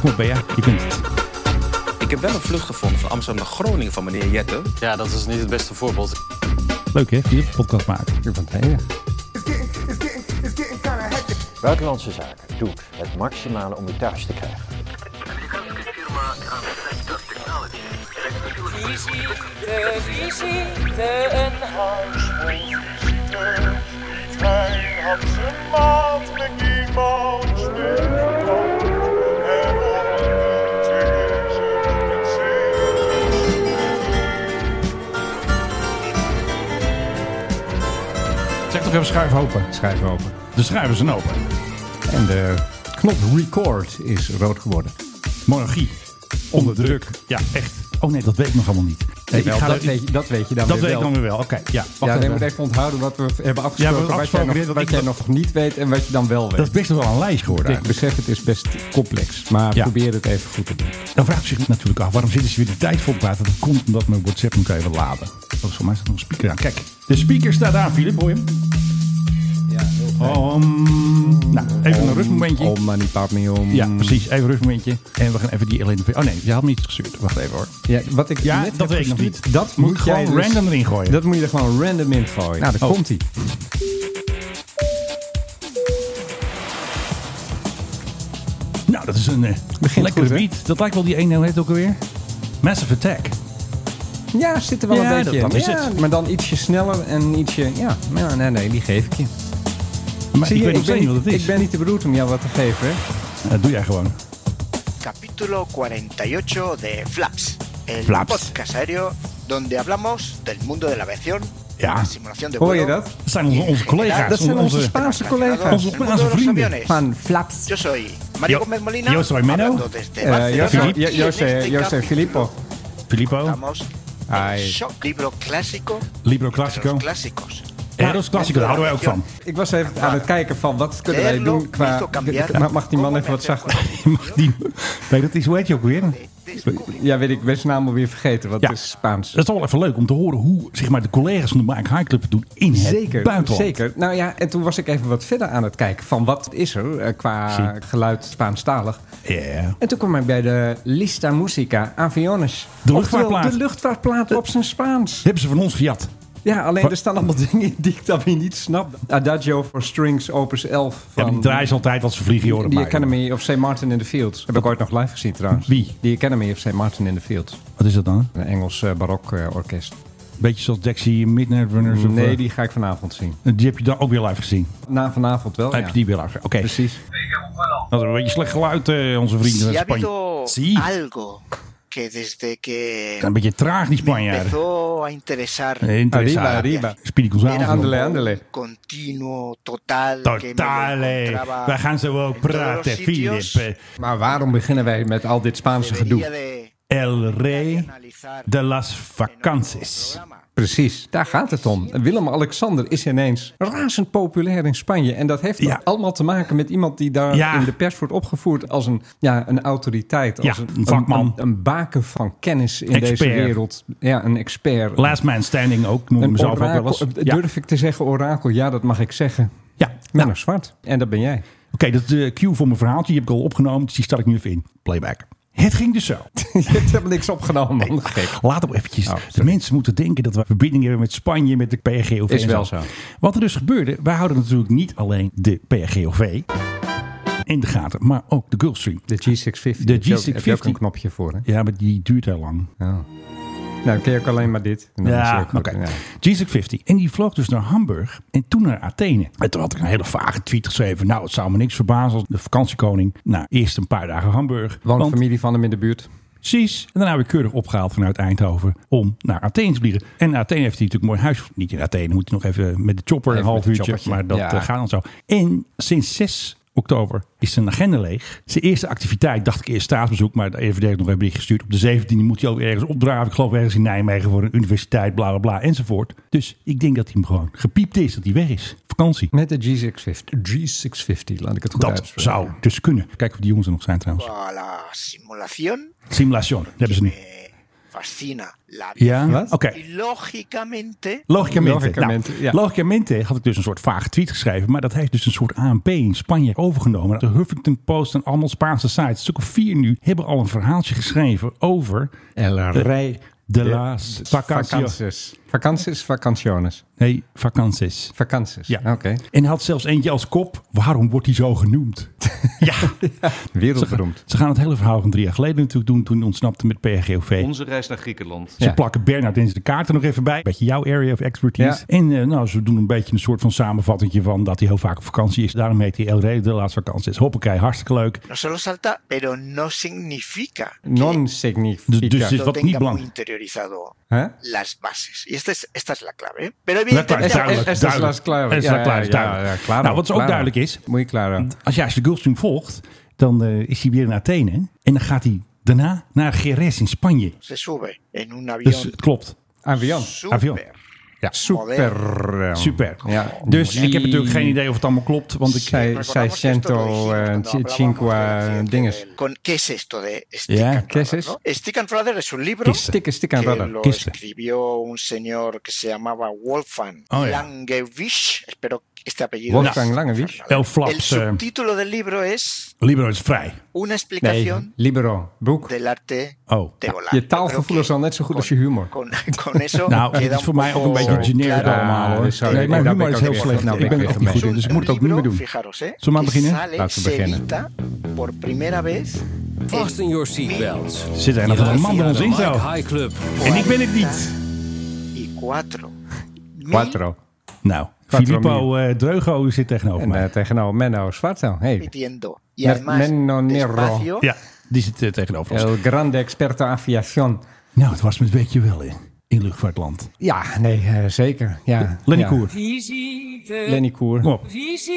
Kom op, Bea, je kunt het. Ik heb wel een vlucht gevonden van Amsterdam naar Groningen van meneer Jette. Ja, dat is niet het beste voorbeeld. Leuk hè, via de podcast maken. Je bent heilig. Buitenlandse Zaken doet het maximale om u thuis te krijgen. Visite, visite, een huis vol visite. Mijn handse met iemand stil. En ondertussen is er een zee. Zeg toch even schuiven open. Schuiven open. De schuiven zijn open. En de knop record is rood geworden. Monarchie. Onder druk. Ja, echt. Oh nee, dat weet ik nog allemaal niet. Eh, ik Jawel, ga dat, er- weet je, dat weet je dan dat weer weet ik wel. dan weer wel. Oké, ja. wacht ja, nee, even. je moet even onthouden wat we hebben Ja, we afgesproken, hebben wat jij, afgesproken nog, dit, wat wat ik jij dat- nog niet weet en wat je dan wel Dat is weet. best wel een lijst geworden Ik eigenlijk. besef, het is best complex, maar Ja. probeer het even goed te doen. Dan vraagt u zich natuurlijk af, waarom zitten ze weer de tijd vol praten? Dat komt omdat mijn WhatsApp moet even laden. Oh, volgens mij staat er nog een speaker aan. Kijk, de speaker staat aan, Filip, hoor je hem? Ja, heel Om. Nou, even een rustmomentje. Om, maar niet paard mee om. Ja, precies. Even een rustmomentje. En we gaan even die Elena... Oh nee, je had hem niet gestuurd. Wacht even hoor. Ja, wat ik Ja, net dat heb weet ik nog gestuurd, niet. Dat Moet moet, ik gewoon jij dus- random erin gooien? Dat moet je er gewoon random in gooien. Nou, daar Oh. komt hij. Nou, dat is een eh, Begint lekkere goed, hè? beat. Dat lijkt wel die ene, hoe heet het ook alweer? Massive Attack. Ja, zit er wel Ja, een beetje dat- in. dat is ja, het. Maar dan ietsje sneller en ietsje... Ja, nou, nee, nee, die geef ik je. Maar Zie ik je, weet nog steeds niet wat het is. Ik ben niet te bedoeld om jou wat te geven. hè. Dat doe jij gewoon. capítulo 48 de Flaps, el Flaps. podcast aéreo donde hablamos del mundo de la aviación, Ya. la simulación de Hoor vuelo. je dat? Dat zijn onze, onze collega's. Dat zijn onze temas Spaanse collega's. relacionados Onze al mundo de Spaanse los vrienden. aviones. Van Flaps. Yo soy Mario Yo- Gómez Molina. yo soy Meno. hablando desde Eh, Barcelona, José, Filip. Jo- y en José, este José capítulo Filippo. Filippo. hablamos del Ay. shock, libro clásico, Libro de Classico. los clásicos. Eros Classico, daar houden wij ook van. Ik was even aan het kijken van wat kunnen wij doen qua... Ma- Mag die man even wat zachter? Mag die... Nee, dat is, hoe heet je ook weer? Ja, weet ik, ben zijn naam alweer vergeten, want Ja. het is Spaans. Dat is wel even leuk om te horen hoe zeg maar, de collega's van de Mike High Club het doen in het Zeker, buitenland. zeker. Nou ja, en toen was ik even wat verder aan het kijken van wat is er eh, qua Zie. geluid Spaanstalig. Ja. En toen kwam ik bij de Lista Musica De Aviones. Oftewel, luchtvaartplaat. De luchtvaartplaat op zijn Spaans. Hebben ze van ons gejat. Ja, alleen Wa- er staan allemaal dingen in die ik dan weer niet snap. Adagio for Strings, opus 11 Ja, van die draaien ze altijd als ze vliegen, joh. dat The maakt niet Academy of St. Martin in the Fields. Heb ik ooit nog live gezien trouwens. Wie? The Academy of St. Martin in the Fields. uit. Wat is dat dan? Een Engels eh, barok eh, orkest. Beetje zoals Dexy Midnight Runners. of, Nee, eh, die ga ik vanavond zien. Die heb je dan ook weer live gezien. Na vanavond wel, Heb ja. je die weer live gezien? Oké. Precies. Dat is een beetje slecht geluid, eh, onze vrienden Si uit ha Spanje. habido Zie. algo que desde que Een beetje traag, die Spanjaarden. empezó a interesar Nee, interessant. Arriba, arriba. Speedy Gonzales. Era Ándale, como ándale. un Continuo, total. que Totaal, me lo eh. encontraba Wij gaan zo ook en todos los praten, sitios. Filip. Maar waarom beginnen wij met al dit Spaanse Debería gedoe? de El Rey analizar de las en otro Vacances. programa. Precies, daar gaat het om. Willem-Alexander is ineens razend populair in Spanje. En dat heeft Ja. allemaal te maken met iemand die daar Ja. in de pers wordt opgevoerd als een, ja, een autoriteit. Als Ja, een vakman. Een, een baken van kennis in Expert. deze wereld. Ja, een expert. Last Man Standing ook, noem ik een mezelf ook wel orakel. eh, eens. Ja, oké, Durf ik te zeggen orakel? Ja, dat mag ik zeggen. nou, Menno Zwart. En dat ben jij. oké, dat is de cue voor mijn verhaaltje. Die heb ik al opgenomen, dus die start ik nu even in. Playback. Het ging dus zo. Je hebt helemaal niks opgenomen, man. Gek. Laat hem eventjes. Oh, de sorry. mensen moeten denken dat we verbinding hebben met Spanje, met de PRGOV. Is en wel zo. Wat er dus gebeurde, wij houden natuurlijk niet alleen de PRGOV in de gaten, maar ook de Gulfstream. De G650. De Heb je ook- Heb je ook G650. een knopje voor, hè? Ja, maar die duurt heel lang. Nou, ken je ook alleen maar dit. En dan is het Ja, ook oké. goed. Ja. G650. En die vloog dus naar Hamburg en toen naar Athene. En toen had ik een hele vage tweet geschreven. Nou, het zou me niks verbazen als de vakantiekoning... Nou, eerst een paar dagen Hamburg. Woont familie van hem in de buurt. Precies. En daarna weer keurig opgehaald vanuit Eindhoven om naar Athene te vliegen. En in Athene heeft hij natuurlijk een mooi huis. Niet in Athene, moet hij nog even met de chopper Even een half met de uurtje. choppertje. Maar dat Ja. eh, gaat dan zo. En sinds 6 oktober is zijn agenda leeg. Zijn eerste activiteit dacht ik eerst staatsbezoek. Maar de EVD heeft nog een bericht gestuurd. Op de 17e moet hij ook ergens opdraven. Ik geloof ergens in Nijmegen voor een universiteit, bla bla bla enzovoort. Dus ik denk dat hij hem gewoon gepiept is, dat hij weg is. Vakantie. Met de G650. G650, laat ik het goed Dat uitspreken. zou dus kunnen. Kijken of die jongens er nog zijn trouwens. A la Ah, simulación Simulation, dat hebben ze nu. eh, fascina la vida. Ja, Wat? oké. Y lógicamente, Logicamente. Logicamente, nou, ja. logicamente had ik dus een soort vage tweet geschreven. Maar dat heeft dus een soort ANP in Spanje overgenomen. De Huffington Post en allemaal Spaanse sites, een stuk of vier nu, hebben al een verhaaltje geschreven over El Rey de las vacaciones. Vakanties. Vakanties, vakantiones. Nee, vakanties. Vakanties. Ja. Oké. En had zelfs eentje als kop, waarom wordt hij zo genoemd? ja, Wereldberoemd. ze gaan het hele verhaal van drie jaar geleden natuurlijk doen. Toen ontsnapte met PRGOV. Onze reis naar Griekenland. Ze Ja. plakken Bernard in de kaart er nog even bij. Beetje jouw area of expertise. En eh, nou, ze doen een beetje een soort van samenvatting van dat hij heel vaak op vakantie is. Daarom heet hij El Rey de laatste vakantie. is. Hoppakee, hartstikke leuk. no solo salta, pero no significa que Non Dus- dus- significa. es lo wat niet tenga muy belangrijk. interiorizado Hè? las bases. Y esta es, esta es la clave. ¿eh? Pero La clave, evidentemente, duidelijk, es- es- duidelijk. is Es- klaar. Ja, is klaar, is ja, duidelijk. ja, ja, klaar Nou, ook, wat dus ook klaar ook. duidelijk is, Moet je klaar als je als je de Gulfstream volgt, dan eh, is hij weer in Athene. En dan gaat hij daarna naar Geres in Spanje. se sube en un avión Dus het klopt. Avian. Avion. súper Super. Super. Ja. Dus ik heb natuurlijk geen idee of het allemaal klopt. Want ik, Sei- Recordamos que esto lo Seicento dijimos eh, cuando ci- hablábamos cinque del- dinges. Con, ¿Qué es esto de Stick Ya, and ¿qué es Brother, eso? no? Stick and Brother es un libro Kiste. Stick, stick and que rudder. lo Kiste. escribió un señor que se llamaba Wolfgang Oh, ya. Langevich. Espero que este apellido. Wolfgang es- Langevich. El El Flaps, eh, subtítulo del libro es Libero is vrij. Una Nee, explicación libero. Boek. del arte Oh. de volar. Je Yo taalgevoel creo is que al net zo goed con- als je humor. Con, con Oh, eso Nou, queda het is un voor mij ook een poco beetje generic claro. allemaal hoor. Ah, sorry. Nee, mijn Daar ben humor ik is ook heel Pues weer- slecht. nou Ik ben ben ik er echt weer niet goed Es in, un dus ik moet het ook niet meer libro, doen. Fijaros, ¿eh? Zullen we maar que beginnen? sale Laten we se beginnen. edita por primera vez Fasten your seatbelts. Zit er nog een man bij ons intro? Mike High Club. En ik ben het niet. y cuatro. mil Quattro. Nou, Quattro Filippo eh, Dreugo zit tegenover En mij. eh, tegenover Menno Zwarto. Hey. repitiendo. Y Mer- además, Menno Nero. despacio, Ja, die zit eh, tegenover ons. El grande experto aviación. Nou, het was met beetje wel in. In luchtvaartland. Ja, nee, eh, zeker. Ja, Lenny ja. Koer. Visite, Lenny Koer. Kom op.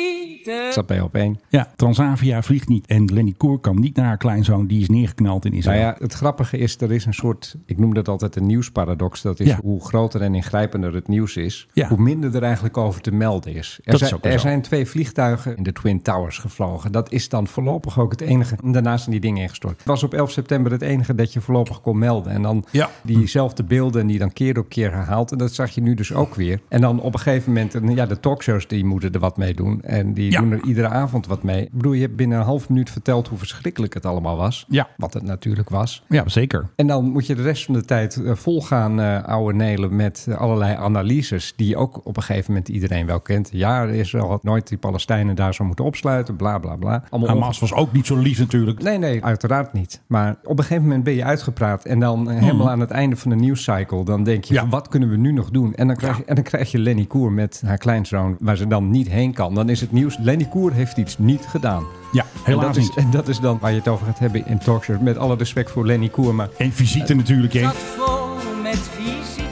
visite. Zat bij op één. Ja, Transavia vliegt niet. En Lenny Koer kan niet naar haar kleinzoon. Die is neergeknald in Israël. Nou ja, het grappige is, er is een soort, ik noem dat altijd een nieuwsparadox. Dat is Ja. hoe groter en ingrijpender het nieuws is, Ja. hoe minder er eigenlijk over te melden is. Er, Dat is zijn, ook wel er zo. zijn twee vliegtuigen in de Twin Towers gevlogen. Dat is dan voorlopig ook het enige. En Daarna zijn die dingen ingestort. Het was op 11 september het enige dat je voorlopig kon melden. En dan Ja. diezelfde beelden die dan keer op keer herhaald. En dat zag je nu dus ook weer. En dan op een gegeven moment, en ja, de talkshows die moeten er wat mee doen. En die Ja. doen er iedere avond wat mee. Ik bedoel, je hebt binnen een half minuut verteld hoe verschrikkelijk het allemaal was. Ja. Wat het natuurlijk was. Ja, zeker. En dan moet je de rest van de tijd eh, volgaan, eh ouwe Nelen, met eh, allerlei analyses die ook op een gegeven moment iedereen wel kent. Ja, Israël had nooit die Palestijnen daar zo moeten opsluiten, bla bla bla. Allemaal Hamas was ook niet zo lief natuurlijk. Nee, nee, uiteraard niet. Maar op een gegeven moment ben je uitgepraat. En dan eh, helemaal aan het einde van de nieuwscycle, dan denk je, Hmm. Ja. van, wat kunnen we nu nog doen? En dan, krijg, je- en dan krijg je Lenny Koer met haar kleinzoon, waar ze dan niet heen kan. Dan is het nieuws, Lenny Koer heeft iets niet gedaan. Ja, helaas en dat is, niet. En dat is dan waar je het over gaat hebben in talkshows. Met alle respect voor Lenny Koer, maar En visite natuurlijk, hè. Zat vol met visite.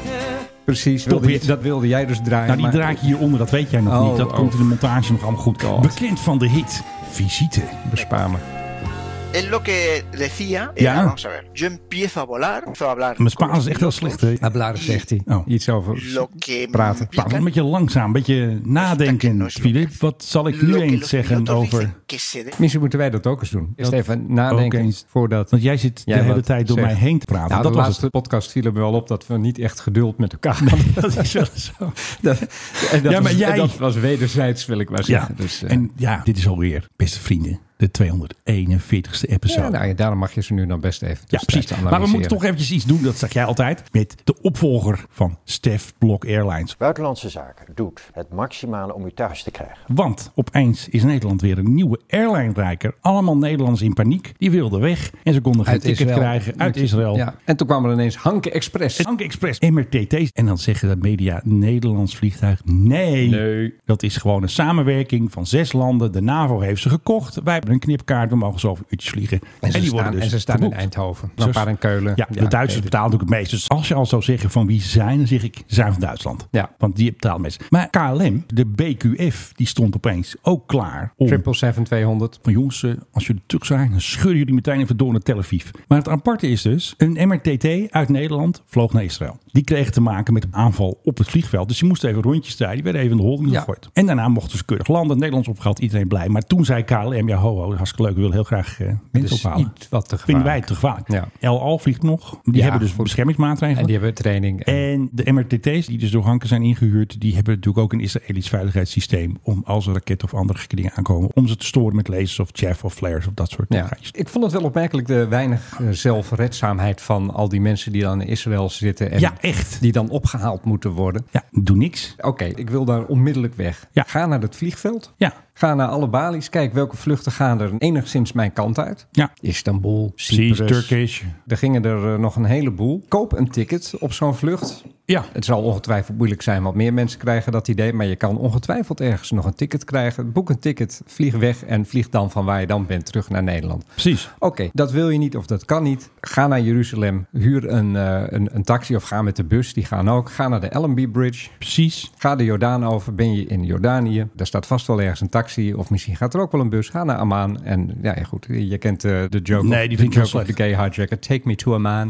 Precies, wilde je- hit. dat wilde jij dus draaien. Nou, die maar- draai ik hieronder, dat weet jij nog Oh, niet. Dat oh. komt in de montage nog allemaal goed. God. Bekend van de hit. Visite. Bespaar me. es lo que decía. Ya. era, vamos a ver. Yo empiezo a volar, empiezo a hablar. Mijn con Spaans los is echt heel pilotos, slecht, hè. Abladen zegt hij. Oh. Iets over s- Lo que praten. implica Een beetje langzaam, een beetje nadenken, Filip. Wat zal ik nu lo que eens los zeggen pilotos over... dicen que se debe Misschien moeten wij dat ook eens doen. Eerst Dat- even nadenken ook eens. voordat... Want jij zit Jij de hele wat tijd door zegt. mij heen te praten. Nou, dat de was laatste het. podcast viel er wel op dat we niet echt geduld met elkaar hadden. Dat is wel zo. Dat- en dat Ja, maar was- en jij- dat was wederzijds, wil ik maar Ja. zeggen. Dus, eh, En ja, dit is alweer, beste vrienden, de 241ste episode. ja, dus Ja, nou ja, daarom mag je ze nu dan best even tussentijds precies. Maar we moeten toch eventjes iets doen, dat zeg jij altijd, met de opvolger van Stef Blok Airlines. Buitenlandse Zaken doet het maximale om u thuis te krijgen. Want opeens is Nederland weer een nieuwe airline-rijker. Allemaal Nederlanders in paniek. Die wilden weg en ze konden geen Uit ticket Israël. krijgen uit Israël. Ja. En toen kwam er ineens Hanke Express. Anke Express, MRTT's. En dan zeggen de media Nederlands vliegtuig. Nee, Nee. dat is gewoon een samenwerking van zes landen. De NAVO heeft ze gekocht. Wij hebben een knipkaart. We mogen zoveel uurtjes vliegen. En ze, staan, en ze staan in verboekt. Eindhoven. dus Zo- Een paar in Keulen. Ja, de Duitsers oké, betalen natuurlijk het meest. Dus als je al zou zeggen van wie ze zijn, dan zeg ik Zuid-Duitsland. Ja. Want die betaalt het meest. Maar KLM, de BQF, die stond opeens ook klaar om... 777-200. Van jongens, eh, als jullie terug zijn, dan scheuren jullie meteen even door naar Tel Aviv. Maar het aparte is dus, een MRTT uit Nederland vloog naar Israël. Die kregen te maken met een aanval op het vliegveld. Dus die moesten even rondjes draaien. Die werden even in de holding Ja. gegooid. En daarna mochten ze keurig landen. Nederlands opgehaald, iedereen blij. Maar toen zei KLM, ja ho, ho hartstikke leuk. We willen heel graag eh, mensen Dus ophalen. iets wat te Vinden wij gevaarlijk. te gevaarlijk. Ja. LAL vliegt nog. Die Ja, hebben dus goed. beschermingsmaatregelen. En die hebben training. En, En de MRTT's, die dus door Hanken zijn ingehuurd, die hebben natuurlijk ook een Israëlisch veiligheidssysteem om als er raketten of andere gekke dingen aankomen, om ze te storen met lasers of chaff of flares of dat soort ja. dingen. Ik vond het wel opmerkelijk de weinig eh, zelfredzaamheid van al die mensen die dan in Israël zitten. En Ja, echt. Die dan opgehaald moeten worden. Ja, doe niks. Oké, ik wil daar onmiddellijk weg. Ja. Ga naar het vliegveld. Ja. Ga naar alle balies. Kijk welke vluchten gaan er enigszins mijn kant uit. Ja. Istanbul, Cyprus. Precies, Turkish. Er gingen er eh, nog een heleboel. Koop een ticket op zo'n vlucht. Ja. Het zal ongetwijfeld moeilijk zijn, want meer mensen krijgen dat idee. Maar je kan ongetwijfeld ergens nog een ticket krijgen. Boek een ticket, vlieg weg en vlieg dan van waar je dan bent terug naar Nederland. Precies. Oké, dat wil je niet of dat kan niet. Ga naar Jeruzalem, huur een, eh, een, een taxi of ga met de bus. Die gaan ook. Ga naar de Allenby Bridge. Precies. Ga de Jordaan over, ben je in Jordanië. Daar staat vast wel ergens een taxi of misschien gaat er ook wel een bus. Ga naar Amman en ja, ja, goed, je kent eh, de joke. Nee, die of- de vind ik heel joke of slecht. de gay hijacker, take me to Amman.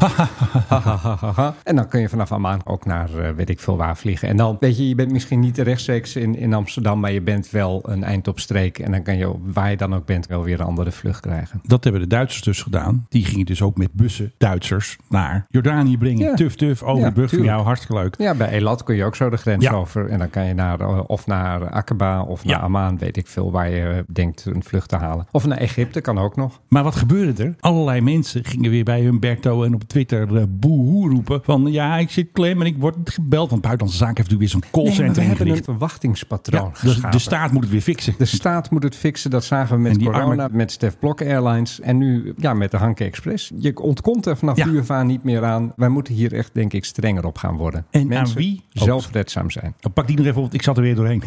en dan kun je vanaf Amman ook naar eh, weet ik veel waar vliegen. En dan, weet je, je bent misschien niet rechtstreeks in, in Amsterdam, maar je bent wel een eindopstreek. En dan kan je, op- waar je dan ook bent, wel weer een andere vlucht krijgen. Dat hebben de Duitsers dus gedaan. Die gingen dus ook met bussen Duitsers naar Jordanië brengen. Ja. Tuf, tuf, over Ja, de brug van tuurlijk. jou. Hartstikke leuk. Ja, bij Elat kun je ook zo de grens Ja. over. En dan kan je naar, eh, of naar Akaba of naar Ja. Amman, weet ik veel, waar je eh, denkt een vlucht te halen. Of naar Egypte kan ook nog. Maar wat gebeurde er? Allerlei mensen gingen weer bij Humberto en op Twitter eh, boehoe roepen. Van ja, ik zit klem en ik word gebeld. Want Buitenlandse Zaken heeft natuurlijk weer zo'n Nee, maar callcenter we hebben een ingericht. verwachtingspatroon Ja, dus geschapen. de staat moet het weer fixen. De staat moet het fixen, dat zagen we En met die corona, arme- met Stef Blok Airlines en nu ja, met de Hanke Express. Je ontkomt er vanaf Ja. nu af aan niet meer aan. Wij moeten hier echt, denk ik, strenger op gaan worden. En aan wie Oh. ook. zelfredzaam zijn. Dan pak die nog even op, want ik zat er weer doorheen.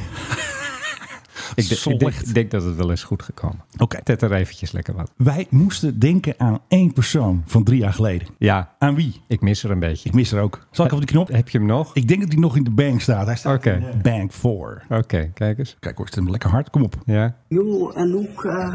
Ik, denk- ik denk, Slecht. ik denk dat het wel eens goed gekomen. Oké. Tet er eventjes lekker wat. Wij moesten denken aan één persoon van drie jaar geleden. Ja, Aan wie? ik mis er een beetje. Ik mis er ook. Zal ik op de knop? Heb je hem nog? Ik denk dat hij nog in de bank staat. Hij staat Oké. in de bank voor. Oké, kijk eens. Kijk hoor, het hem lekker hard. Kom op. Ja. Joh, en ook eh,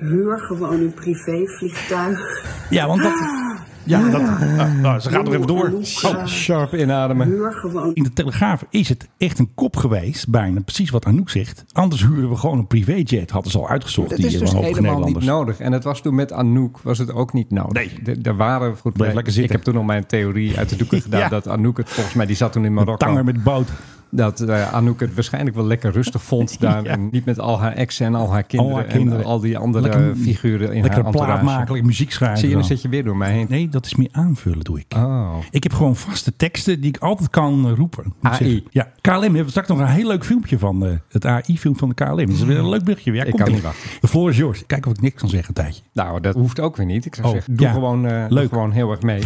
huur gewoon een privévliegtuig. Ja, want dat... Ah. Ja, dat, nou, nou, ze gaat nog even door. Oh, Sharp inademen. Huur gewoon in de Telegraaf is het echt een kop geweest, bijna precies wat Anouk zegt. Anders huren we gewoon een privéjet, hadden ze al uitgezocht. Dat die is dus hoge helemaal niet Nederlanders. nodig. En het was toen met Anouk was het ook niet nodig. Nee. De- Er waren goed. Bleef lekker zitten. Ik heb toen nog mijn theorie uit de doeken gedaan Ja. dat Anouk het volgens mij die zat toen in Marokko. Tanger met boot. Dat eh, Anouk het waarschijnlijk wel lekker rustig vond daar en niet met al haar exen en al haar kinderen, haar kinderen. en al die andere Lekker- figuren in Lekker haar entourage. plaat maken, lekker muziek schrijven. Zie je, dan dan. zit je weer door mij heen. Nee, dat is meer aanvullen, doe ik. Oh. Ik heb gewoon vaste teksten die ik altijd kan eh, roepen. Moet ik AI. zeggen. Ja, KLM hebben we straks nog een heel leuk filmpje van. eh, het AI-film van de KLM. Dat is weer een leuk berichtje. Ja, Hmm. Ik komt kan er. niet wachten. De floor is yours. Kijk of ik niks kan zeggen een tijdje. Nou, dat hoeft ook weer niet. Ik zou Oh, zeggen, doe, ja. gewoon, eh, doe Leuk. gewoon heel erg mee.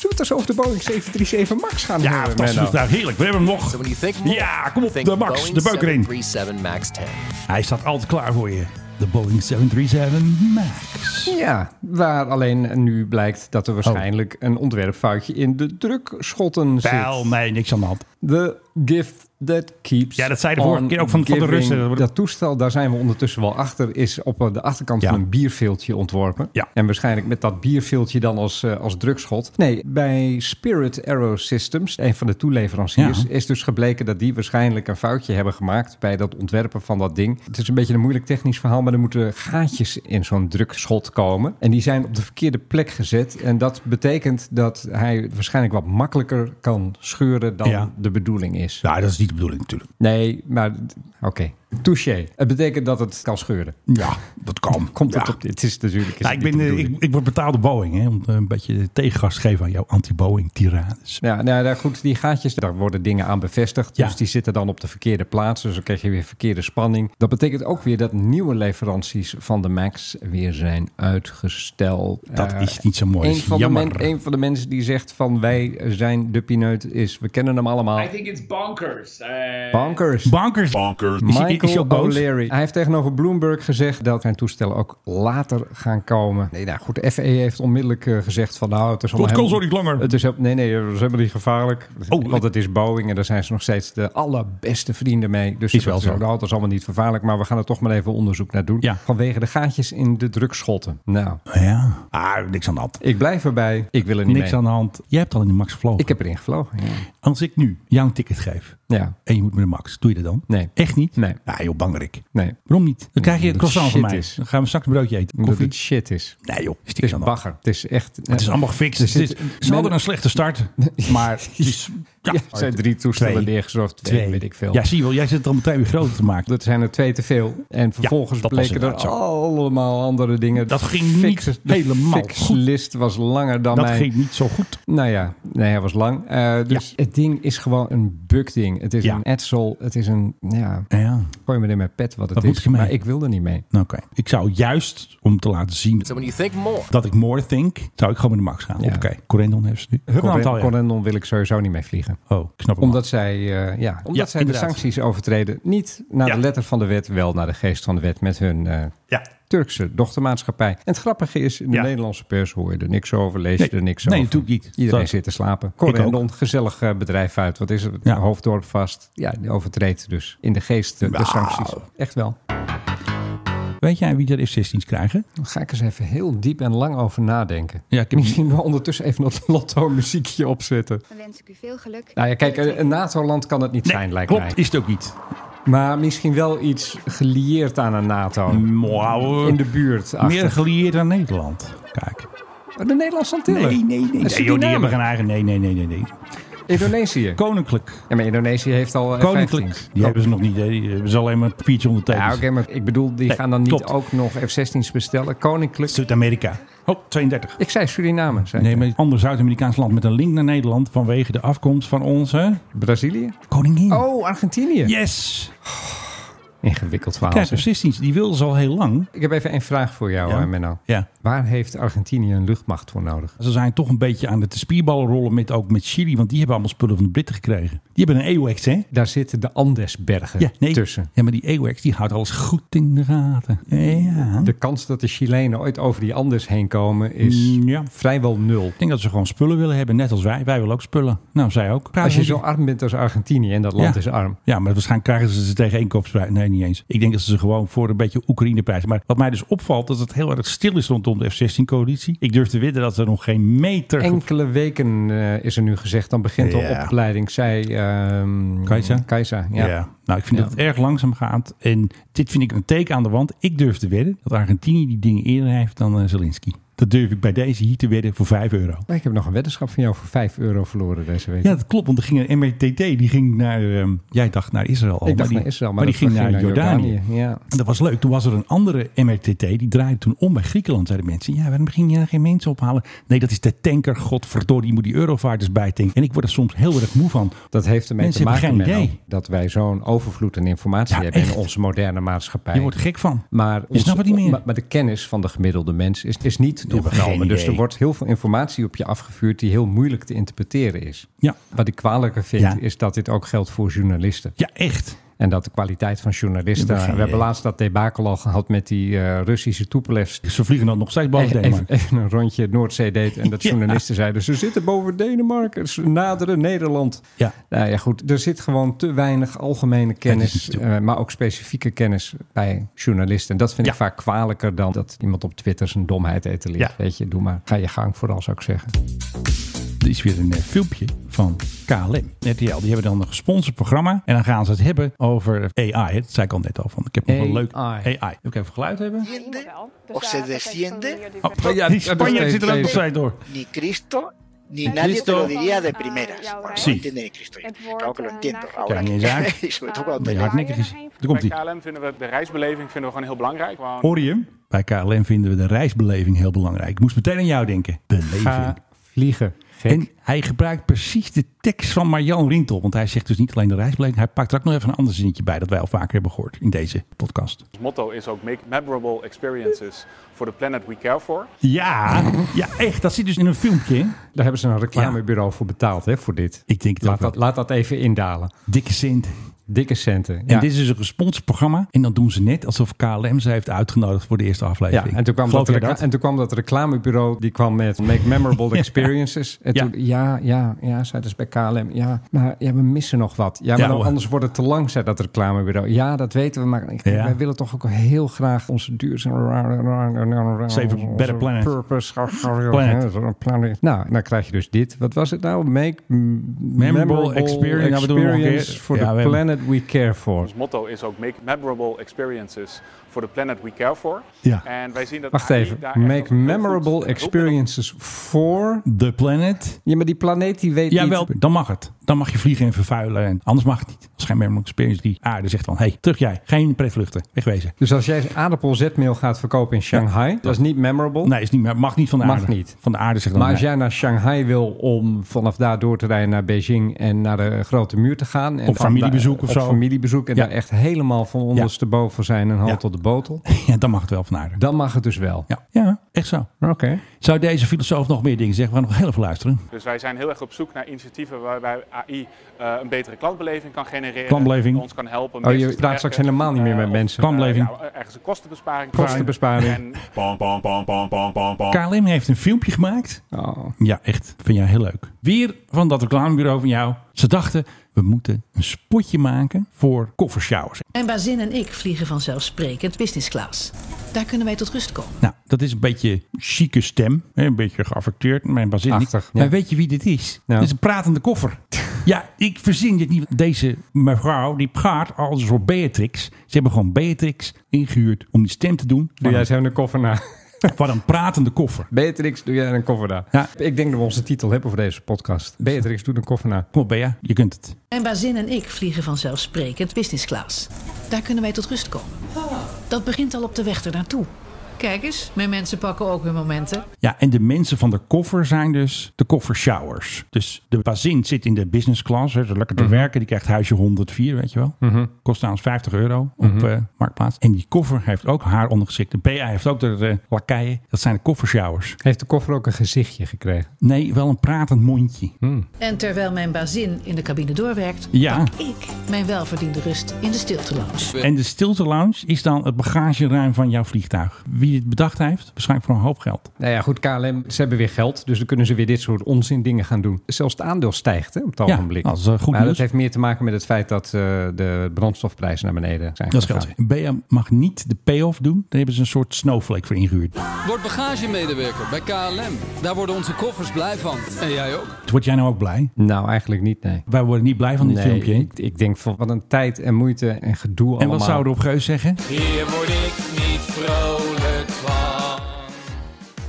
Zullen we het eens over de Boeing 737 MAX gaan Ja, horen, fantastisch. Menno? Nou, heerlijk. We hebben hem nog. When you think more, Ja, kom op. think De Max. Boeing De beuker in. 737 MAX 10. Hij staat altijd klaar voor je. De Boeing 737 MAX. Ja, waar alleen nu blijkt dat er waarschijnlijk een ontwerpfoutje in de drukschotten zit. Pijl, nee, niks aan de hand. The gift that keeps. Ja, dat zei de vorige on keer ook van- van de giving. Russen. Dat toestel, daar zijn we ondertussen wel achter, is op eh, de achterkant Ja. van een bierveeltje ontworpen. Ja. En waarschijnlijk met dat bierveeltje dan als, eh, als drugschot. Nee, bij Spirit Aerosystems, een van de toeleveranciers, Ja. is dus gebleken dat die waarschijnlijk een foutje hebben gemaakt bij dat ontwerpen van dat ding. Het is een beetje een moeilijk technisch verhaal, maar er moeten gaatjes in zo'n drugschot komen. En die zijn op de verkeerde plek gezet. En dat betekent dat hij waarschijnlijk wat makkelijker kan scheuren dan Ja. de bedoeling is. Nou, dat is niet de bedoeling natuurlijk. Nee, maar oké. Touché. Het betekent dat het kan scheuren. Ja, dat kan. Komt ja. het op? Het is natuurlijk. is Nou, ik, het ben, niet eh, de bedoeling. ik, ik word betaald door Boeing. Hè, om eh, een beetje tegengas te geven aan jouw anti-Boeing-tirades. Ja, nou ja, goed, die gaatjes, daar worden dingen aan bevestigd. Ja. Dus die zitten dan op de verkeerde plaats. Dus dan krijg je weer verkeerde spanning. Dat betekent ook weer dat nieuwe leveranties van de MAX weer zijn uitgesteld. Dat Eh, is niet zo mooi. Een Dat is van, de jammer. men- een van de mensen die zegt van wij zijn de pineut is, we kennen hem allemaal. Eh, I think it's bonkers. Uh, Bankers. Bankers. Mike is hij ook Michael boos? O'Leary. Hij heeft tegenover Bloomberg gezegd dat zijn toestellen ook later gaan komen. Nee, nou goed, de FE heeft onmiddellijk eh, gezegd van nou, het is allemaal... kan helemaal- zo niet langer. Het is, heel- nee, nee, dat is helemaal niet gevaarlijk. Oh, Want het is Boeing en daar zijn ze nog steeds de allerbeste vrienden mee. Dus Is wel dat zo. Nou, dat is allemaal niet gevaarlijk, maar we gaan er toch maar even onderzoek naar doen. Ja. Vanwege de gaatjes in de drugschotten. Nou, Ja. Ah, niks aan de hand. ik blijf erbij. Ik wil er niet Niks mee. aan de hand. Jij hebt al in de max gevlogen. Ik heb erin gevlogen, ja. Als ik nu jou een ticket geef Ja, en je moet met de max, doe je dat dan? Nee. Echt niet? Nee. Ah joh, bangerik. nee. Waarom niet? Dan krijg je Omdat een het croissant van shit mij. is. Dan gaan we straks een broodje eten. Omdat Koffie. het shit is. Nee joh, Het is stiks aan de hand. bagger. Het is echt... eh, Het is allemaal gefixt. Er Het is- zit- ze hadden men- een slechte start, maar het is- ja, Ja, er zijn drie toestellen Twee. neergezorgd. Twee, twee. weet ik veel. Ja, zie je wel. Jij zit het al meteen weer groter te maken. Dat zijn er twee te veel. En vervolgens dat was bleken er inderdaad zo. allemaal andere dingen. Dat De ging fix- niet de helemaal fixlist was langer dan Dat mijn... ging niet zo goed. Nou ja, nee, hij was lang. Eh, dus het ding is gewoon een bugding. Het is Ja. een Edsel. Het is een... Ja, Ja. gooi me in mijn pet wat het Wat moet is. je mee? Maar ik wil er niet mee. Nou, Oké. Ik zou juist om te laten zien So when you think more, dat ik more think, zou ik gewoon met de max gaan. Ja. Oké. Corendon hebben ze nu. Hun Corren- aantal, ja. Corendon wil ik sowieso niet mee vliegen. Oh, ik snap hem. Omdat zij, eh, ja, omdat Ja, zij inderdaad. de sancties overtreden. Niet naar Ja. de letter van de wet, wel naar de geest van de wet met hun eh, Ja. Turkse dochtermaatschappij. En het grappige is, in de Ja. Nederlandse pers hoor je er niks over, lees je Nee. er niks Nee, over. natuurlijk niet. Iedereen Dat- zit te slapen. Corendon, ook. gezellig eh, bedrijf uit. Wat is het? Ja. Hoofddorp vast. Ja, die overtreedt dus in de geest de, de Wauw. sancties. Echt wel. Weet jij wie er F-16's krijgen? Dan ga ik eens even heel diep en lang over nadenken. Ja, ik heb- Misschien wel ondertussen even dat lotto-muziekje opzetten. Dan wens ik u veel geluk. Nou ja, kijk, eh, een een NATO-land kan het niet zijn, lijkt klopt. mij. Is het ook niet. Maar misschien wel iets gelieerd aan een NATO. Mwauw. In de buurt. Mm. Meer achter. gelieerd aan Nederland. Kijk. De Nederlandse Antillen. Nee, Dat joh, is die die namen. hebben geen eigen. Nee, nee, nee, nee. nee. Indonesië. Koninklijk. Ja, maar Indonesië heeft al eh, Koninklijk. 15. Die hebben ze nog niet. hè. Die hebben ze alleen maar een papiertje Ja, ondertekend. oké, maar ik bedoel, die Nee, gaan dan niet klopt. ook nog F-16's bestellen. Koninklijk. Zuid-Amerika. Oh, 32. Ik zei Suriname. Zei Nee, ik. maar een ander Zuid-Amerikaans land met een link naar Nederland vanwege de afkomst van onze Brazilië? koningin. Oh, Ah, Argentinië. Yes! Ingewikkeld verhaal. Kijk, zeg. precies. Die wilden ze al heel lang. Ik heb even één vraag voor jou, Ja. eh, Menno. Ja. Waar heeft Argentinië een luchtmacht voor nodig? Ze zijn toch een beetje aan het spierballen rollen met, ook met Chili. Want die hebben allemaal spullen van de Britten gekregen. Die hebben een EOX, hè? Daar zitten de Andesbergen Ja, nee. tussen. Ja, maar die EOX die houdt alles goed in de gaten. Ja. De kans dat de Chilenen ooit over die Andes heen komen is Mm, ja. vrijwel nul. Ik denk dat ze gewoon spullen willen hebben, net als wij. Wij willen ook spullen. Nou, zij ook. Als je zo arm bent als Argentinië en dat land Ja. is arm. Ja, maar waarschijnlijk krijgen ze ze tegen één koopsprijs. Nee, niet eens. Ik denk dat ze ze gewoon voor een beetje Oekraïne prijzen. Maar wat mij dus opvalt, dat het heel erg stil is rondom de F-16-coalitie. Ik durf te weten dat er nog geen meter... Enkele weken eh, is er nu gezegd, dan begint Ja. de opleiding. Zij, ehm Kajsa? Kajsa, ja. ja. nou ik vind Ja. dat het erg langzaam gaat. En dit vind ik een teken aan de wand. Ik durf te wedden dat Argentinië die dingen eerder heeft dan eh, Zelensky. Dat durf ik bij deze hier te wedden voor 5 euro. Maar Ik heb nog een weddenschap van jou voor 5 euro verloren deze week. Ja, dat klopt, want er ging een MRTT, die ging naar, ehm, jij dacht naar Israël al. ik Oh, maar dacht die, naar Israël, maar die dat ging naar, Jordanië. Ja. En Dat was leuk. Toen was er een andere MRTT. Die draaide toen om bij Griekenland. Zeiden mensen. Ja, waarom ging je daar geen mensen ophalen? Nee, dat is de tanker. Godverdorie, je moet die eurovaarders bijtanken. En ik word er soms heel erg moe van. Dat heeft ermee Mensen te hebben maken geen Menno, idee. dat wij zo'n overvloed aan informatie Ja, hebben echt. in onze moderne maatschappij. Je wordt gek van. maar, ons- snapt het niet meer. Maar, maar de kennis van de gemiddelde mens is, is niet hebben geen toegenomen. Dus idee. er wordt heel veel informatie op je afgevuurd die heel moeilijk te interpreteren is. Ja, Wat ik kwalijker vind, Ja. is dat dit ook geldt voor journalisten. ja echt. En dat de kwaliteit van Dat journalisten. is geen We hebben idee. laatst dat debakel al gehad met die eh, Russische toepelefs. Ze vliegen dan nog steeds boven Even, Denemarken. even een rondje Noordzee deed en dat Ja. journalisten zeiden... ze zitten boven Denemarken, ze naderen Nederland. Ja. Nou ja, goed, er zit gewoon te weinig algemene kennis... niet zo. eh, maar ook specifieke kennis bij journalisten. En dat vind Ja. ik vaak kwalijker dan dat iemand op Twitter zijn domheid etaleert. Ja. Weet je, doe maar. Ga je gang vooral, zou ik zeggen. Er is weer een eh, filmpje van KLM. RTL. Die hebben dan een gesponsord programma. En dan gaan ze het hebben over AI. Dat zei ik al net al. Van. Ik heb nog wel een leuk AI. AI. Wil ik even geluid hebben? desciende, o se desciende, Oh, ja, die Spanjaard is- zit er ook is- nog steeds door. ni Cristo, ni nadie te Cristo. lo diría de primeras. Bueno, Sí. no entiende de Cristo. Claro que lo entiendo. Ahora, Kijk, niet zaak. y sobre todo cuando Ben je te hardnekkig is. Daar komt hij. KLM vinden we de reisbeleving vinden we gewoon heel belangrijk. Gewoon Hoor je hem? Bij KLM vinden we de reisbeleving heel belangrijk. Ik moest meteen aan jou denken. Beleving. Ga vliegen, gek. En hij gebruikt precies de tekst van Marjan Rintel. Want hij zegt dus niet alleen de reisbeleving. Hij pakt er ook nog even een ander zinnetje bij. Dat wij al vaker hebben gehoord in deze podcast. ons motto is ook make memorable experiences for the planet we care for. Ja, ja echt. Dat zit dus in een filmpje. Daar hebben ze een reclamebureau voor betaald, hè, voor dit. Ik denk dat Laat wel. dat, laat dat even indalen. Dikke Sint. Dikke centen. En Ja. dit is dus een gesponsord programma. En dan doen ze net alsof KLM ze heeft uitgenodigd voor de eerste Ja, aflevering. en toen, kwam Geloof dat jij recla- dat? en toen kwam dat reclamebureau, die kwam met Make Memorable Experiences. En Ja. toen, ja, ja, ja, zeiden ze bij KLM. Ja, maar ja, we missen nog wat. Ja, maar Ja, dan- hoor. anders wordt het te lang, zei dat reclamebureau. Ja, dat weten we, maar ik, Ja. wij willen toch ook heel graag onze duurzame... Save a better planet. Purpose. Planet. Planet. Nou, en dan krijg je dus dit. Wat was het nou? Make Memorable, Memorable Experience. Ja, we doen hem nog een keer. Experience for Ja, we the hebben- planet we care for. Ons motto is ook make memorable experiences for the planet we care for. Ja. En wij zien dat Wacht AI even. daar echt als Make een heel memorable goed hulpmiddel experiences for... The Planet. Ja, maar die planeet die weet Jawel, niet... dan mag het. Dan mag je vliegen en vervuilen. En anders mag het niet. Als geen Memorable Experience die aarde zegt van... hey, terug jij. Geen pretvluchten. Wegwezen. Dus als jij aardappel zetmeel gaat verkopen in Shanghai, dat is niet memorable. Nee, is niet, meer- mag niet van de Mag aarde. niet. Van de aarde zegt dan Maar als nee. jij naar Shanghai wil om vanaf daar door te rijden naar Beijing en naar de Grote Muur te gaan. En Op van familiebezoek daar- of op zo. familiebezoek en Ja. daar echt helemaal van ondersteboven zijn en hand Ja. tot de botel. Ja, dan mag het wel van de aarde. Dan mag het dus wel. Ja, ja echt zo. Oké. Zou deze filosoof nog meer dingen zeggen? We gaan nog heel even luisteren. Dus wij zijn heel erg op zoek naar initiatieven waarbij AI eh, een betere klantbeleving kan genereren. Klantbeleving. Ons kan Oh, helpen. je mensen te praat straks werken, helemaal niet meer eh, met of, mensen. eh, Klantbeleving. nou, ergens een kostenbesparing. Kostenbesparing. En KLM heeft een filmpje gemaakt. Oh. Ja, echt. Vind jij heel leuk. Weer van dat reclamebureau van jou. Ze dachten, we moeten een spotje maken voor koffershowers. Mijn bazin en ik vliegen vanzelfsprekend business class. Daar kunnen wij tot rust komen. Nou, dat is een beetje chique stem. hè, Een beetje geaffecteerd. Mijn bazin. niet. Achtig, ja. Maar weet je wie dit is? Nou. Dit is een pratende koffer. ja, ik verzin dit niet. Deze mevrouw, die praat als voor Beatrix. Ze hebben gewoon Beatrix ingehuurd om die stem te doen. Doe Van, jij zo een koffer na. een, van een pratende koffer. Beatrix, doe jij een koffer na. Ja. Ik denk dat we onze titel hebben voor deze podcast. Beatrix, doe een koffer na. Kom op, Bea. Je kunt het. Mijn bazin en ik vliegen vanzelfsprekend business class. Daar kunnen wij tot rust komen. Dat begint al op de weg ernaartoe. Kijk eens, mijn mensen pakken ook hun momenten. Ja, en de mensen van de koffer zijn dus de koffershowers. Dus de bazin zit in de business class, hè, zo lekker Mhm. te werken. Die krijgt huisje 104, weet je wel. Kost trouwens 50 euro op Mhm. eh, Marktplaats. En die koffer heeft ook haar ondergeschikt. De BA heeft ook de eh, lakeien. Dat zijn de koffershowers. Heeft de koffer ook een gezichtje gekregen? Nee, wel een pratend mondje. Hm. En terwijl mijn bazin in de cabine doorwerkt, Ja. pak ik mijn welverdiende rust in de stilte lounge. En de stilte lounge is dan het bagageruim van jouw vliegtuig. Wie dit bedacht heeft, waarschijnlijk voor een hoop geld. Nou ja, goed, KLM, ze hebben weer geld. Dus dan kunnen ze weer dit soort onzin dingen gaan doen. Zelfs het aandeel stijgt hè, op het Ja, ogenblik. dat is, eh, goed maar nieuws. dat heeft meer te maken met het feit dat eh, de brandstofprijzen naar beneden zijn Dat is gegaan. geld. BA mag niet de payoff doen. Daar hebben ze een soort snowflake voor ingehuurd. Word bagagemedewerker bij KLM. Daar worden onze koffers blij van. En jij ook? Word jij nou ook blij? Nou, eigenlijk niet, nee. Wij worden niet blij van dit nee, filmpje. hè? Ik, ik denk van wat een tijd en moeite en gedoe allemaal. En wat zou Rob Geus zeggen? Hier word ik niet vrolijk van.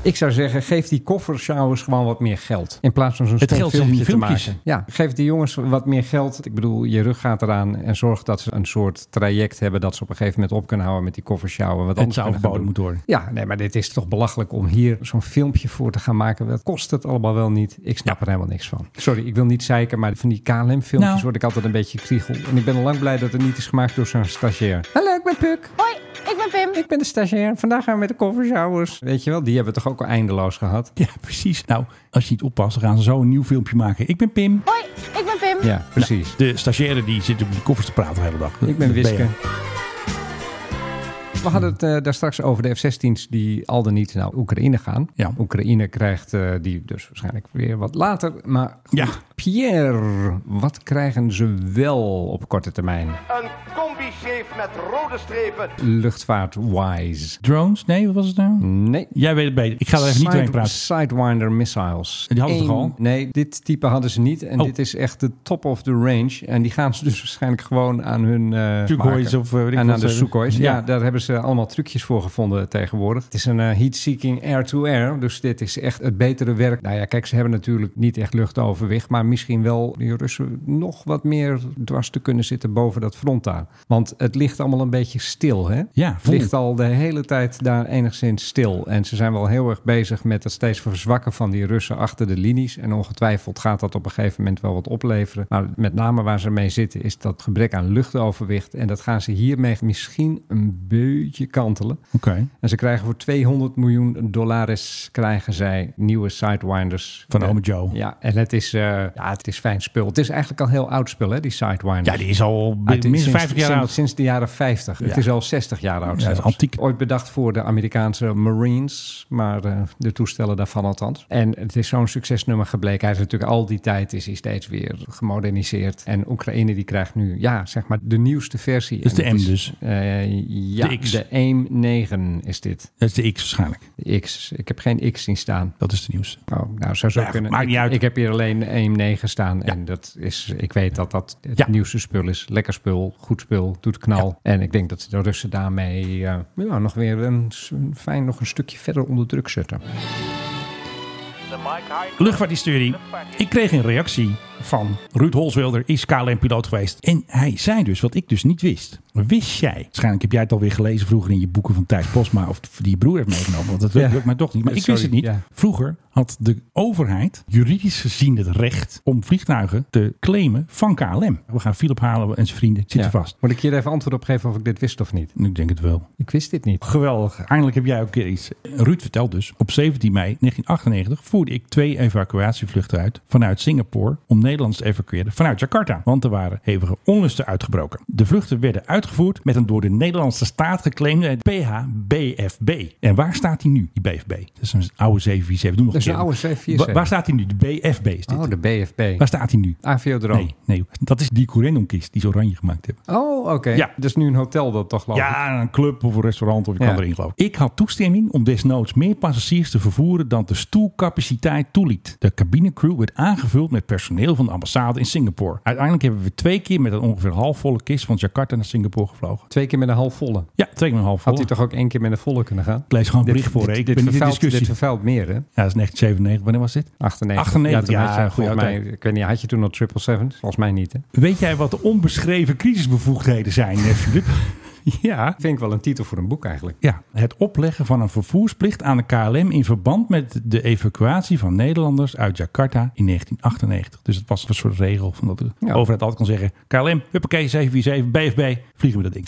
Ik zou zeggen, geef die koffershowers gewoon wat meer geld. In plaats van zo'n Het stom geld zit in filmpje die te filmpjes. maken. Ja, geef die jongens wat meer geld. Ik bedoel, je rug gaat eraan en zorg dat ze een soort traject hebben... dat ze op een gegeven moment op kunnen houden met die koffershower. Wat Het anders zou kunnen gaan verboden doen. moeten worden. Ja, nee, maar dit is toch belachelijk om hier zo'n filmpje voor te gaan maken. Wat kost het allemaal wel niet? Ik snap er helemaal niks van. Sorry, ik wil niet zeiken, maar van die KLM-filmpjes Nou. word ik altijd een beetje kriegel. En ik ben al lang blij dat het niet is gemaakt door zo'n stagiair. Hallo, ik ben Puk. Hoi, ik ben Pim. Ik ben de stagiair. Vandaag gaan we met de koffershowers. Weet je wel, die hebben we toch ook al eindeloos gehad? Ja, precies. Nou, als je niet oppast, dan gaan ze zo een nieuw filmpje maken. Ik ben Pim. Ja, precies. De stagiaire die zit op die koffers te praten de hele dag. Ik ben Dat Wiske. je. We hadden het eh, daar straks over de F-16's die al dan niet naar Oekraïne gaan. Ja. Oekraïne krijgt eh, die dus waarschijnlijk weer wat later. Maar goed, Ja. Pierre, wat krijgen ze wel op korte termijn? Een combi-shape met rode strepen. Luchtvaart-wise. Drones? Nee, wat was het nou? Nee. Jij weet het beter. Ik ga er even niet doorheen praten. Sidewinder missiles. Die hadden ze Eén- toch al? Nee, dit type hadden ze niet. En Oh. dit is echt de top of the range. En die gaan ze dus waarschijnlijk gewoon aan hun... eh, Sukhois maken. of, eh, weet ik En wat aan ze hebben. de Sukhois. Ja. Ja. daar hebben ze allemaal trucjes voor gevonden tegenwoordig. Het is een eh, heat-seeking air-to-air. Dus dit is echt het betere werk. Nou ja, kijk, ze hebben natuurlijk niet echt luchtoverwicht. Maar misschien wel die Russen nog wat meer dwars te kunnen zitten boven dat front daar. Want het ligt allemaal een beetje stil, hè? Ja, Het vol. ligt al de hele tijd daar enigszins stil. En ze zijn wel heel erg bezig met het steeds verzwakken van die Russen achter de linies. En ongetwijfeld gaat dat op een gegeven moment wel wat opleveren. Maar met name waar ze mee zitten is dat gebrek aan luchtoverwicht. En dat gaan ze hiermee misschien een beetje kantelen. Oké. En ze krijgen voor 200 miljoen dollars krijgen zij nieuwe Sidewinders. Van Eh, Ome Joe. Ja, en het is, eh, ja, het is fijn spul. Het is eigenlijk al heel oud spul, hè, die Sidewinders. Ja, die is al Ah, het is minstens sinds- 50 jaar sinds, oud. Sinds de jaren 50. Het is al 60 jaar oud. Ja, het is zelfs. antiek. Ooit bedacht voor de Amerikaanse Marines, maar eh, de toestellen daarvan althans. En het is zo'n succesnummer gebleken. Hij is natuurlijk al die tijd is hij steeds weer gemoderniseerd. En Oekraïne die krijgt nu, ja, zeg maar de nieuwste versie. Dat is En de het M dus. eh, ja, De de, X. AIM 9 is dit. Dat is de X waarschijnlijk. De X. Ik heb geen X zien staan. Dat is de nieuwste. Oh, nou, zou zo Nou ja, kunnen. maakt ik, niet uit. ik heb hier alleen AIM 9 staan. En dat is, ik weet dat dat het Ja. nieuwste spul is. Lekker spul, goed spul, doet knal. En ik denk dat de Russen daarmee eh, ja, nog weer een, s- een fijn nog een stukje verder onder druk zetten. Luchtvaarthistorie. Ik kreeg een reactie van Ruud Holswilder, is KLM-piloot geweest. En hij zei dus, wat ik dus niet wist. Wist jij, waarschijnlijk heb jij het alweer gelezen vroeger in je boeken van Thijs Posma, of die je broer heeft meegenomen, want dat Ja. lukt mij toch niet. Maar ik Sorry, wist het niet. ja. Vroeger had de overheid juridisch gezien het recht om vliegtuigen te claimen van KLM. We gaan Philip halen en zijn vrienden zitten Ja. vast. Moet ik hier even antwoord op geven of ik dit wist of niet? Ik denk het wel. Ik wist dit niet. Geweldig. Eindelijk heb jij ook een keer iets. Ruud vertelt dus. Op 17 mei 1998 voerde ik twee evacuatievluchten uit vanuit Singapore om Nederlands te evacueren vanuit Jakarta. Want er waren hevige onlusten uitgebroken. De vluchten werden uitgevoerd met een door de Nederlandse staat geclaimde PHBFB. En waar staat die nu, die BFB? Dat is een oude 747. Doe nog Dat is een keer. oude 747. Wa- Waar staat die nu? De BFB is dit. Oh, de BFB. Waar staat die nu? Aviodroom. Nee, nee, dat is die Corendon-kist die ze oranje gemaakt hebben. Oh, oké. Ja. Dat is nu een hotel dat toch geloof ik. Ja, een club of een restaurant of je kan Ja. erin geloven. Ik had toestemming om desnoods meer passagiers te vervoeren dan de stoelcapaciteit toeliet. De cabinecrew werd aangevuld met personeel van de ambassade in Singapore. Uiteindelijk hebben we twee keer met een ongeveer halfvolle kist van Jakarta naar Singapore gevlogen. Twee keer met een half volle. Ja, twee keer met een halfvolle. Had hij toch ook één keer met een volle kunnen gaan? Ik lees gewoon een bericht voor. hè. Dit, Ik dit, ben niet in vervuilt- discussie. dit vervuilt meer, hè? ja, dat is 1997. Wanneer was dit? 98. 98, toen ja, had je, goeie volgens mij, oud, ik weet niet, had je toen al 777? Volgens mij niet, hè? Weet jij wat de onbeschreven crisisbevoegdheden zijn, eh, Filip? ja, Vind ik wel een titel voor een boek eigenlijk. Ja, het opleggen van een vervoersplicht aan de KLM in verband met de evacuatie van Nederlanders uit Jakarta in 1998. Dus het was een soort regel van dat de Ja. overheid altijd kon zeggen: KLM, huppakee, 747, BFB, vliegen we dat ding.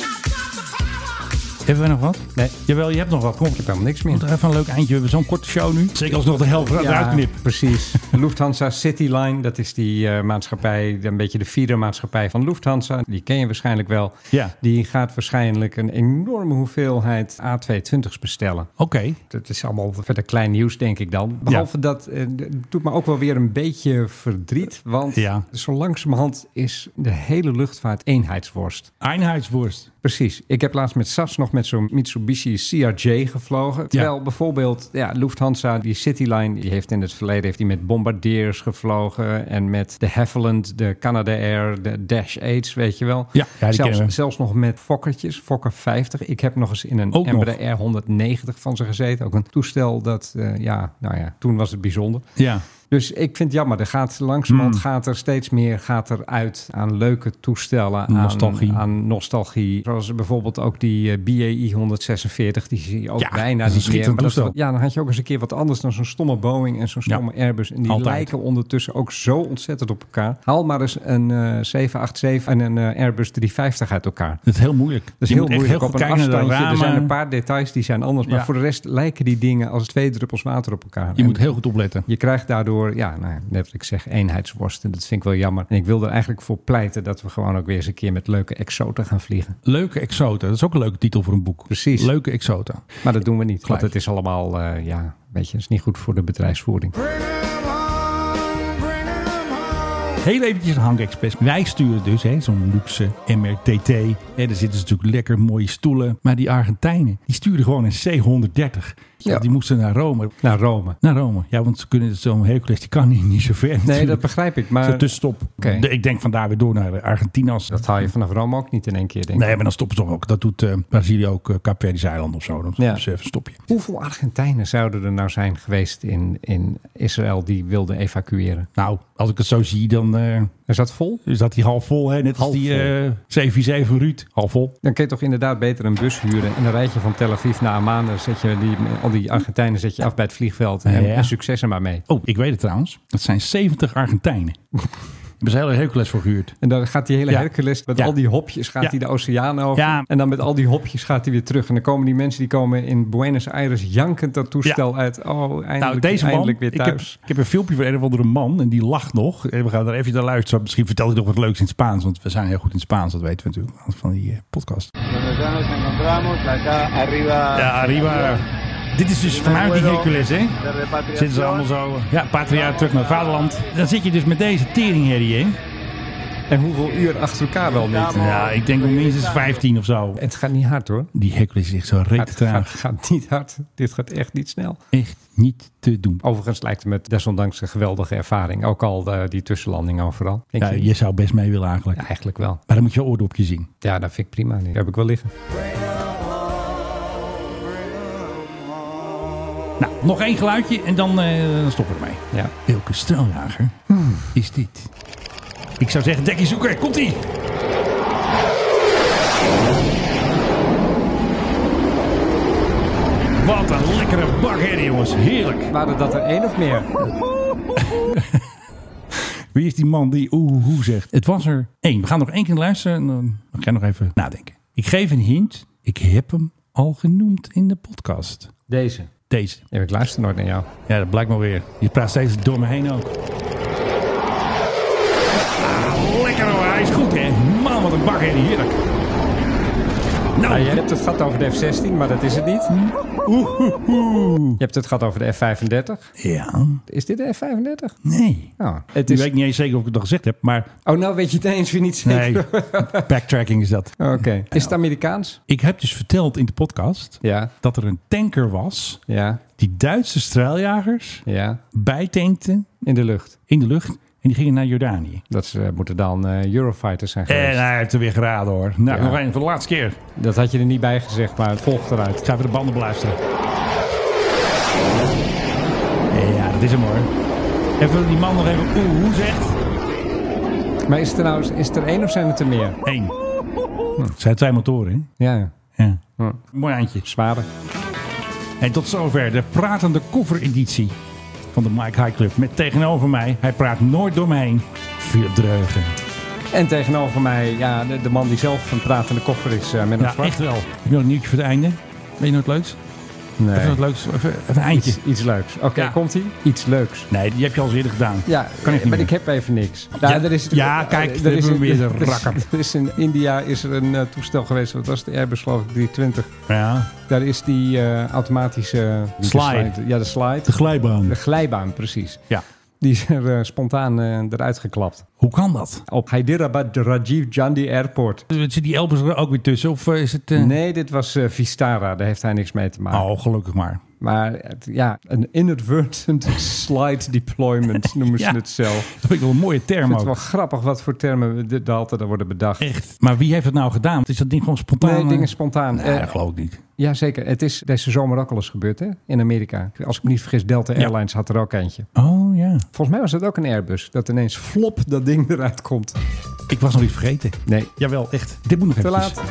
Hebben we nog wat? Nee. Jawel, je hebt nog wat. Kom, Ik heb helemaal niks meer. komt er even een leuk eindje. We hebben zo'n korte show nu. Zeker als nog de helft eruit knip. precies. Lufthansa Cityline, dat is die eh, maatschappij, een beetje de vierde maatschappij van Lufthansa. Die ken je waarschijnlijk wel. Ja. Die gaat waarschijnlijk een enorme hoeveelheid A220's bestellen. Oké. Dat is allemaal verder klein nieuws, denk ik dan. Behalve dat, eh, d- het doet me ook wel weer een beetje verdriet. Want Ja. zo langzamerhand is de hele luchtvaart eenheidsworst. Einheidsworst. Precies. Ik heb laatst met SAS nog met zo'n Mitsubishi CRJ gevlogen. Terwijl bijvoorbeeld ja, Lufthansa, die Cityline, die heeft in het verleden heeft die met Bombardiers gevlogen. En met de Havilland, de Canada Air, de Dash 8, weet je wel. Ja, ja, die zelfs, kennen we. zelfs nog met Fokkertjes, Fokker 50. Ik heb nog eens in een Ook nog. Embraer 190 van ze gezeten. Ook een toestel dat, eh, ja, nou ja, toen was het bijzonder. Ja. Dus ik vind het jammer. Er gaat langzamerhand Hmm. gaat er steeds meer gaat er uit aan leuke toestellen. aan- Nostalgie. Aan, nostalgie. Zoals bijvoorbeeld ook die eh, BAE 146. Die zie je ook Ja, bijna dat is een niet meer. schitterend Maar dat- toestel. ja, dan had je ook eens een keer wat anders dan zo'n stomme Boeing en zo'n Ja, stomme Airbus. En die altijd. lijken ondertussen ook zo ontzettend op elkaar. Haal maar eens een eh 787 en een eh, Airbus 350 uit elkaar. Dat is heel moeilijk. Dat is Je heel moet echt moeilijk op goed een kijken naar de afstandje. Er zijn ramen. een paar details die zijn anders. Maar Ja. voor de rest lijken die dingen als twee druppels water op elkaar. Je En moet heel goed opletten. je krijgt daardoor, ja, nou, ja, net wat ik zeg, eenheidsworst. En dat vind ik wel jammer. En ik wil er eigenlijk voor pleiten dat we gewoon ook weer eens een keer met leuke exoten gaan vliegen. Leuke exoten. Dat is ook een leuke titel voor een boek. Precies. Leuke exoten. Maar dat doen we niet, Gelijk. want het is allemaal, eh, ja, weet je, het is niet goed voor de bedrijfsvoering. Heel eventjes een Hank Express. Wij sturen dus hè, zo'n luxe MRTT. Hè, daar zitten ze natuurlijk lekker mooie stoelen. Maar die Argentijnen, die sturen gewoon een C-130. Ja. Ja. Die moesten naar Rome. Naar Rome. Naar Rome. Ja, want ze kunnen zo'n Hercules, die kan niet, niet zo ver. Nee, dat natuurlijk. begrijp ik, Zo'n maar tussenstop. Oké. De- Ik denk vandaar weer door naar Argentinië. Als... dat haal je vanaf Rome ook niet in één keer, denk ik. Nee, maar dan stoppen ze toch ook. Dat doet eh, Brazilië ook, uh, Capverdische eilanden of zo. Dan Ja. ja. even een stopje. Hoeveel Argentijnen zouden er nou zijn geweest in, in Israël die wilden evacueren? Nou, als ik het zo zie, dan eh, Is dat vol? is dat die half vol. Hè? Net als Half die vol. eh 747 Ruud. Half vol. Dan kun je toch inderdaad beter een bus huren. En dan rijd je van Tel Aviv naar Amman. Dan zet je die, al die Argentijnen zet je af bij het vliegveld. En, Ja. en succes er maar mee. Oh, ik weet het trouwens. Het zijn 70 Argentijnen. hebben ze een hele Hercules voor gehuurd. Nou, En dan gaat die hele Ja. Hercules met Ja. al die hopjes gaat Ja. hij de oceaan over. Ja. En dan met al die hopjes gaat hij weer terug. En dan komen die mensen die komen in Buenos Aires jankend dat toestel uit. Oh, eindelijk, Nou, deze man, eindelijk weer ik heb, thuis. ik heb een filmpje van een of andere man en die lacht nog. Eh, We gaan er even naar luisteren. Misschien vertelt hij nog wat leuks in het Spaans, want we zijn heel goed in het Spaans, dat weten we natuurlijk van die eh, podcast. Ja, arriba. Dit is dus vanuit die Hercules, hè? Zitten ze allemaal zo, ja, patria terug naar het vaderland. Dan zit je dus met deze teringherrie, hè? En hoeveel uur achter elkaar wel niet. Ja, ik denk wel minstens 15 of zo. Het gaat niet hard hoor. Die Hercules is echt zo reet Het gaat, traag. gaat niet hard. Dit gaat echt niet snel. Echt niet te doen. Overigens lijkt het me desondanks een geweldige ervaring. Ook al eh, die tussenlanding overal. Denk Ja, je niet? je zou best mee willen eigenlijk. Ja, eigenlijk wel. Maar dan moet je wel oordopjes zien. Ja, dat vind ik prima. Die heb ik wel liggen. Nou, nog één geluidje en dan eh, stoppen we ermee. Ja. Welke straaljager is dit? Ik zou zeggen, dekkie zoeken. Komt ie! Wat een lekkere bak, hè, jongens. Heerlijk. Waren dat er één of meer? Wie is die man die oeh hoe zegt? Het was er één. We gaan nog één keer luisteren en dan ga ik nog even nadenken. Ik geef een hint. Ik heb hem al genoemd in de podcast. Deze. Deze. Ja, ik luister nooit naar jou. Ja, dat blijkt maar weer. Je praat steeds door me heen ook. Ah, lekker hoor. Hij is goed, hè? Man, wat een bak, hè? Heerlijk. Nou, Ah, je hebt het gehad over de F-16, maar dat is het niet. oeh, oeh, oeh. Je hebt het gehad over de F-35. Ja, Is dit de F-35? nee. Nou, het Nu is... weet ik niet eens zeker of ik het nog gezegd heb, maar Oh, nou weet je het eens weer niet zeker. nee. Backtracking is dat. Oké. Is het Amerikaans? Ik heb dus verteld in de podcast Ja, dat er een tanker was ja, die Duitse straaljagers ja. bijtankten In de lucht. in de lucht en die gingen naar Jordanië. Dat ze, eh, moeten dan eh, Eurofighters zijn geweest. En hij heeft er weer geraden hoor. Nou, Ja. nog één voor de laatste keer. Dat had je er niet bij gezegd, maar het volgt eruit. Ik ga even de banden beluisteren. Ja, dat is hem hoor. Even dat die man nog even oeh hoe zegt. Maar is het er nou is het er één of zijn het er meer? Eén. Nou, Het zijn twee motoren, Ja, hè? Ja. Mooi eindje. zware. En tot zover de pratende koffereditie van de Mike High Club. Met tegenover mij, hij praat nooit door me heen, Philip Dreugen. En tegenover mij, ja, de, de man die zelf een pratende koffer is eh, met een Ja, zwart. echt wel. Heb je nog een nieuwtje voor het einde? Weet je nog wat leuks? Even Nee. wat leuks, even, even een eindje. Iets, iets leuks. Oké, Ja. komt ie? Iets leuks. Nee, die heb je al eens eerder gedaan. Ja, Kan ik niet maar meer. ik heb even niks. Nou, Ja, er is, ja, kijk, er daar hebben we weer de er is- rakker. Er is in India is er een eh, toestel geweest, wat was de Airbus geloof ik, 320. Ja, Daar is die eh, automatische... Slide. Ja, de slide. de glijbaan. De glijbaan, precies. Ja. Die is er eh, spontaan eh, eruit geklapt. Hoe kan dat? Op Hyderabad Rajiv Gandhi Airport. Zit die Elbers er ook weer tussen? Of eh, is het... eh, Nee, dit was eh, Vistara. Daar heeft hij niks mee te maken. Oh, gelukkig maar. Maar het- ja, een inadvertent slide deployment noemen ze Ja. het zelf. Dat vind ik wel een mooie Ik term vind het ook. wel grappig wat voor termen we dit- altijd er worden bedacht. Echt. Maar wie heeft het nou gedaan? Is dat ding gewoon spontaan? Nee, eh? dingen spontaan. Nee, Eh, dat geloof ik niet. Jazeker. Het is deze zomer ook al eens gebeurd hè? in Amerika. Als ik me niet vergis, Delta Ja. Airlines had er ook eentje. Oh ja. Volgens mij was dat ook een Airbus. Dat ineens flop dat ding eruit komt. Ik was nog iets vergeten. Nee, Jawel, echt. Dit moet nog te even. laat.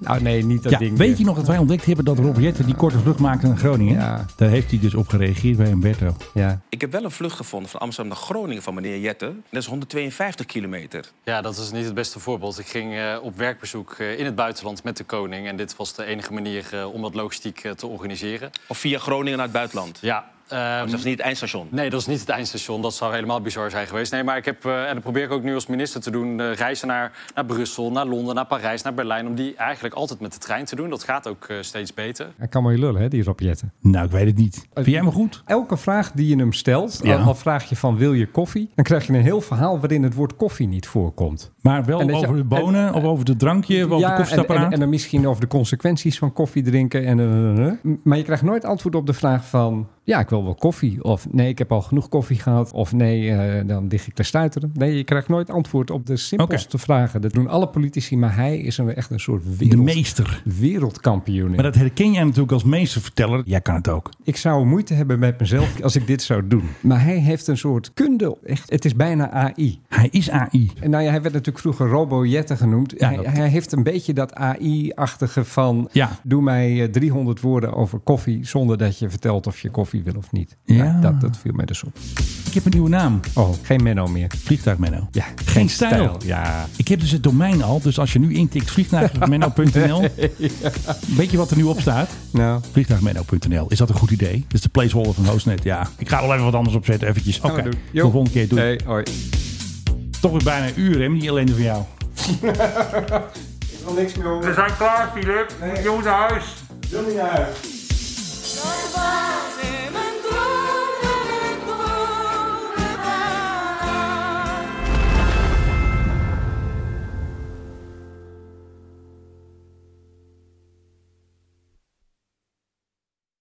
Nou nee, niet dat Ja, ding. weet je nog dat wij ontdekt hebben dat Rob Jetten die korte vlucht maakte naar Groningen? Ja. Daar heeft hij dus op gereageerd bij Humberto. Ja. Ik heb wel een vlucht gevonden van Amsterdam naar Groningen van meneer Jette. Dat is 152 kilometer. Ja, dat is niet het beste voorbeeld. Ik ging eh, op werkbezoek eh, in het buitenland met de koning. En dit was de enige manier eh, om dat logistiek eh, te organiseren. Of via Groningen naar het buitenland. Ja, ehm, Dat is niet het eindstation. Nee, dat is niet het eindstation. Dat zou helemaal bizar zijn geweest. Nee, maar ik heb, eh, en dat probeer ik ook nu als minister te doen... eh, reizen naar, naar Brussel, naar Londen, naar Parijs, naar Berlijn... om die eigenlijk altijd met de trein te doen. Dat gaat ook eh, steeds beter. Hij kan mooi lullen, hè, die Rob Jetten. Nou, ik weet het niet. Eh, Vind jij me goed? Elke vraag die je hem stelt, Ja. al, al vraag je van wil je koffie, dan krijg je een heel verhaal waarin het woord koffie niet voorkomt. Maar wel En dat je- over de bonen, of over het drankje, of over de en, koffiestapparaat? en, en dan misschien over de consequenties van koffie drinken. En, eh, eh, eh. M- Maar je krijgt nooit antwoord op de vraag van... ja, ik wil wel koffie. Of nee, ik heb al genoeg koffie gehad. Of nee, eh, dan lig ik te stuiteren. Nee, je krijgt nooit antwoord op de simpelste vragen. Dat doen alle politici, maar hij is een, echt een soort de wereld, meester. wereldkampioen. in. Maar dat herken jij natuurlijk als meesterverteller. Jij kan het ook. Ik zou moeite hebben met mezelf als ik dit zou doen. Maar hij heeft een soort kunde. Echt, het is bijna AI. Hij is AI. En nou ja, hij werd natuurlijk vroeger Robo-Jetten genoemd. Ja, hij, dat- hij heeft een beetje dat AI-achtige van... Ja. doe mij eh, 300 woorden over koffie... zonder dat je vertelt of je koffie koffie wil of niet. Ja. Nou, dat, dat viel mij dus op. Ik heb een nieuwe naam. Oh, geen Menno meer. Vliegtuigmenno. Ja, geen, stijl. Ja. Ik heb dus het domein al. Dus als je nu intikt vliegtuigmenno.nl. Weet je wat er nu op staat? Nou, Vliegtuigmenno.nl. Is dat een goed idee? Dat is de placeholder van Hostnet. Ja. Ik ga er wel even wat anders opzetten. Eventjes. Oké. gaan we doen. De Jo. volgende keer doen. Hey, hoi. Toch weer bijna een uur, hè? Niet alleen van jou. Ik wil niks meer horen. zijn klaar, Filip. Jongens naar huis. Wil niet naar huis. Door de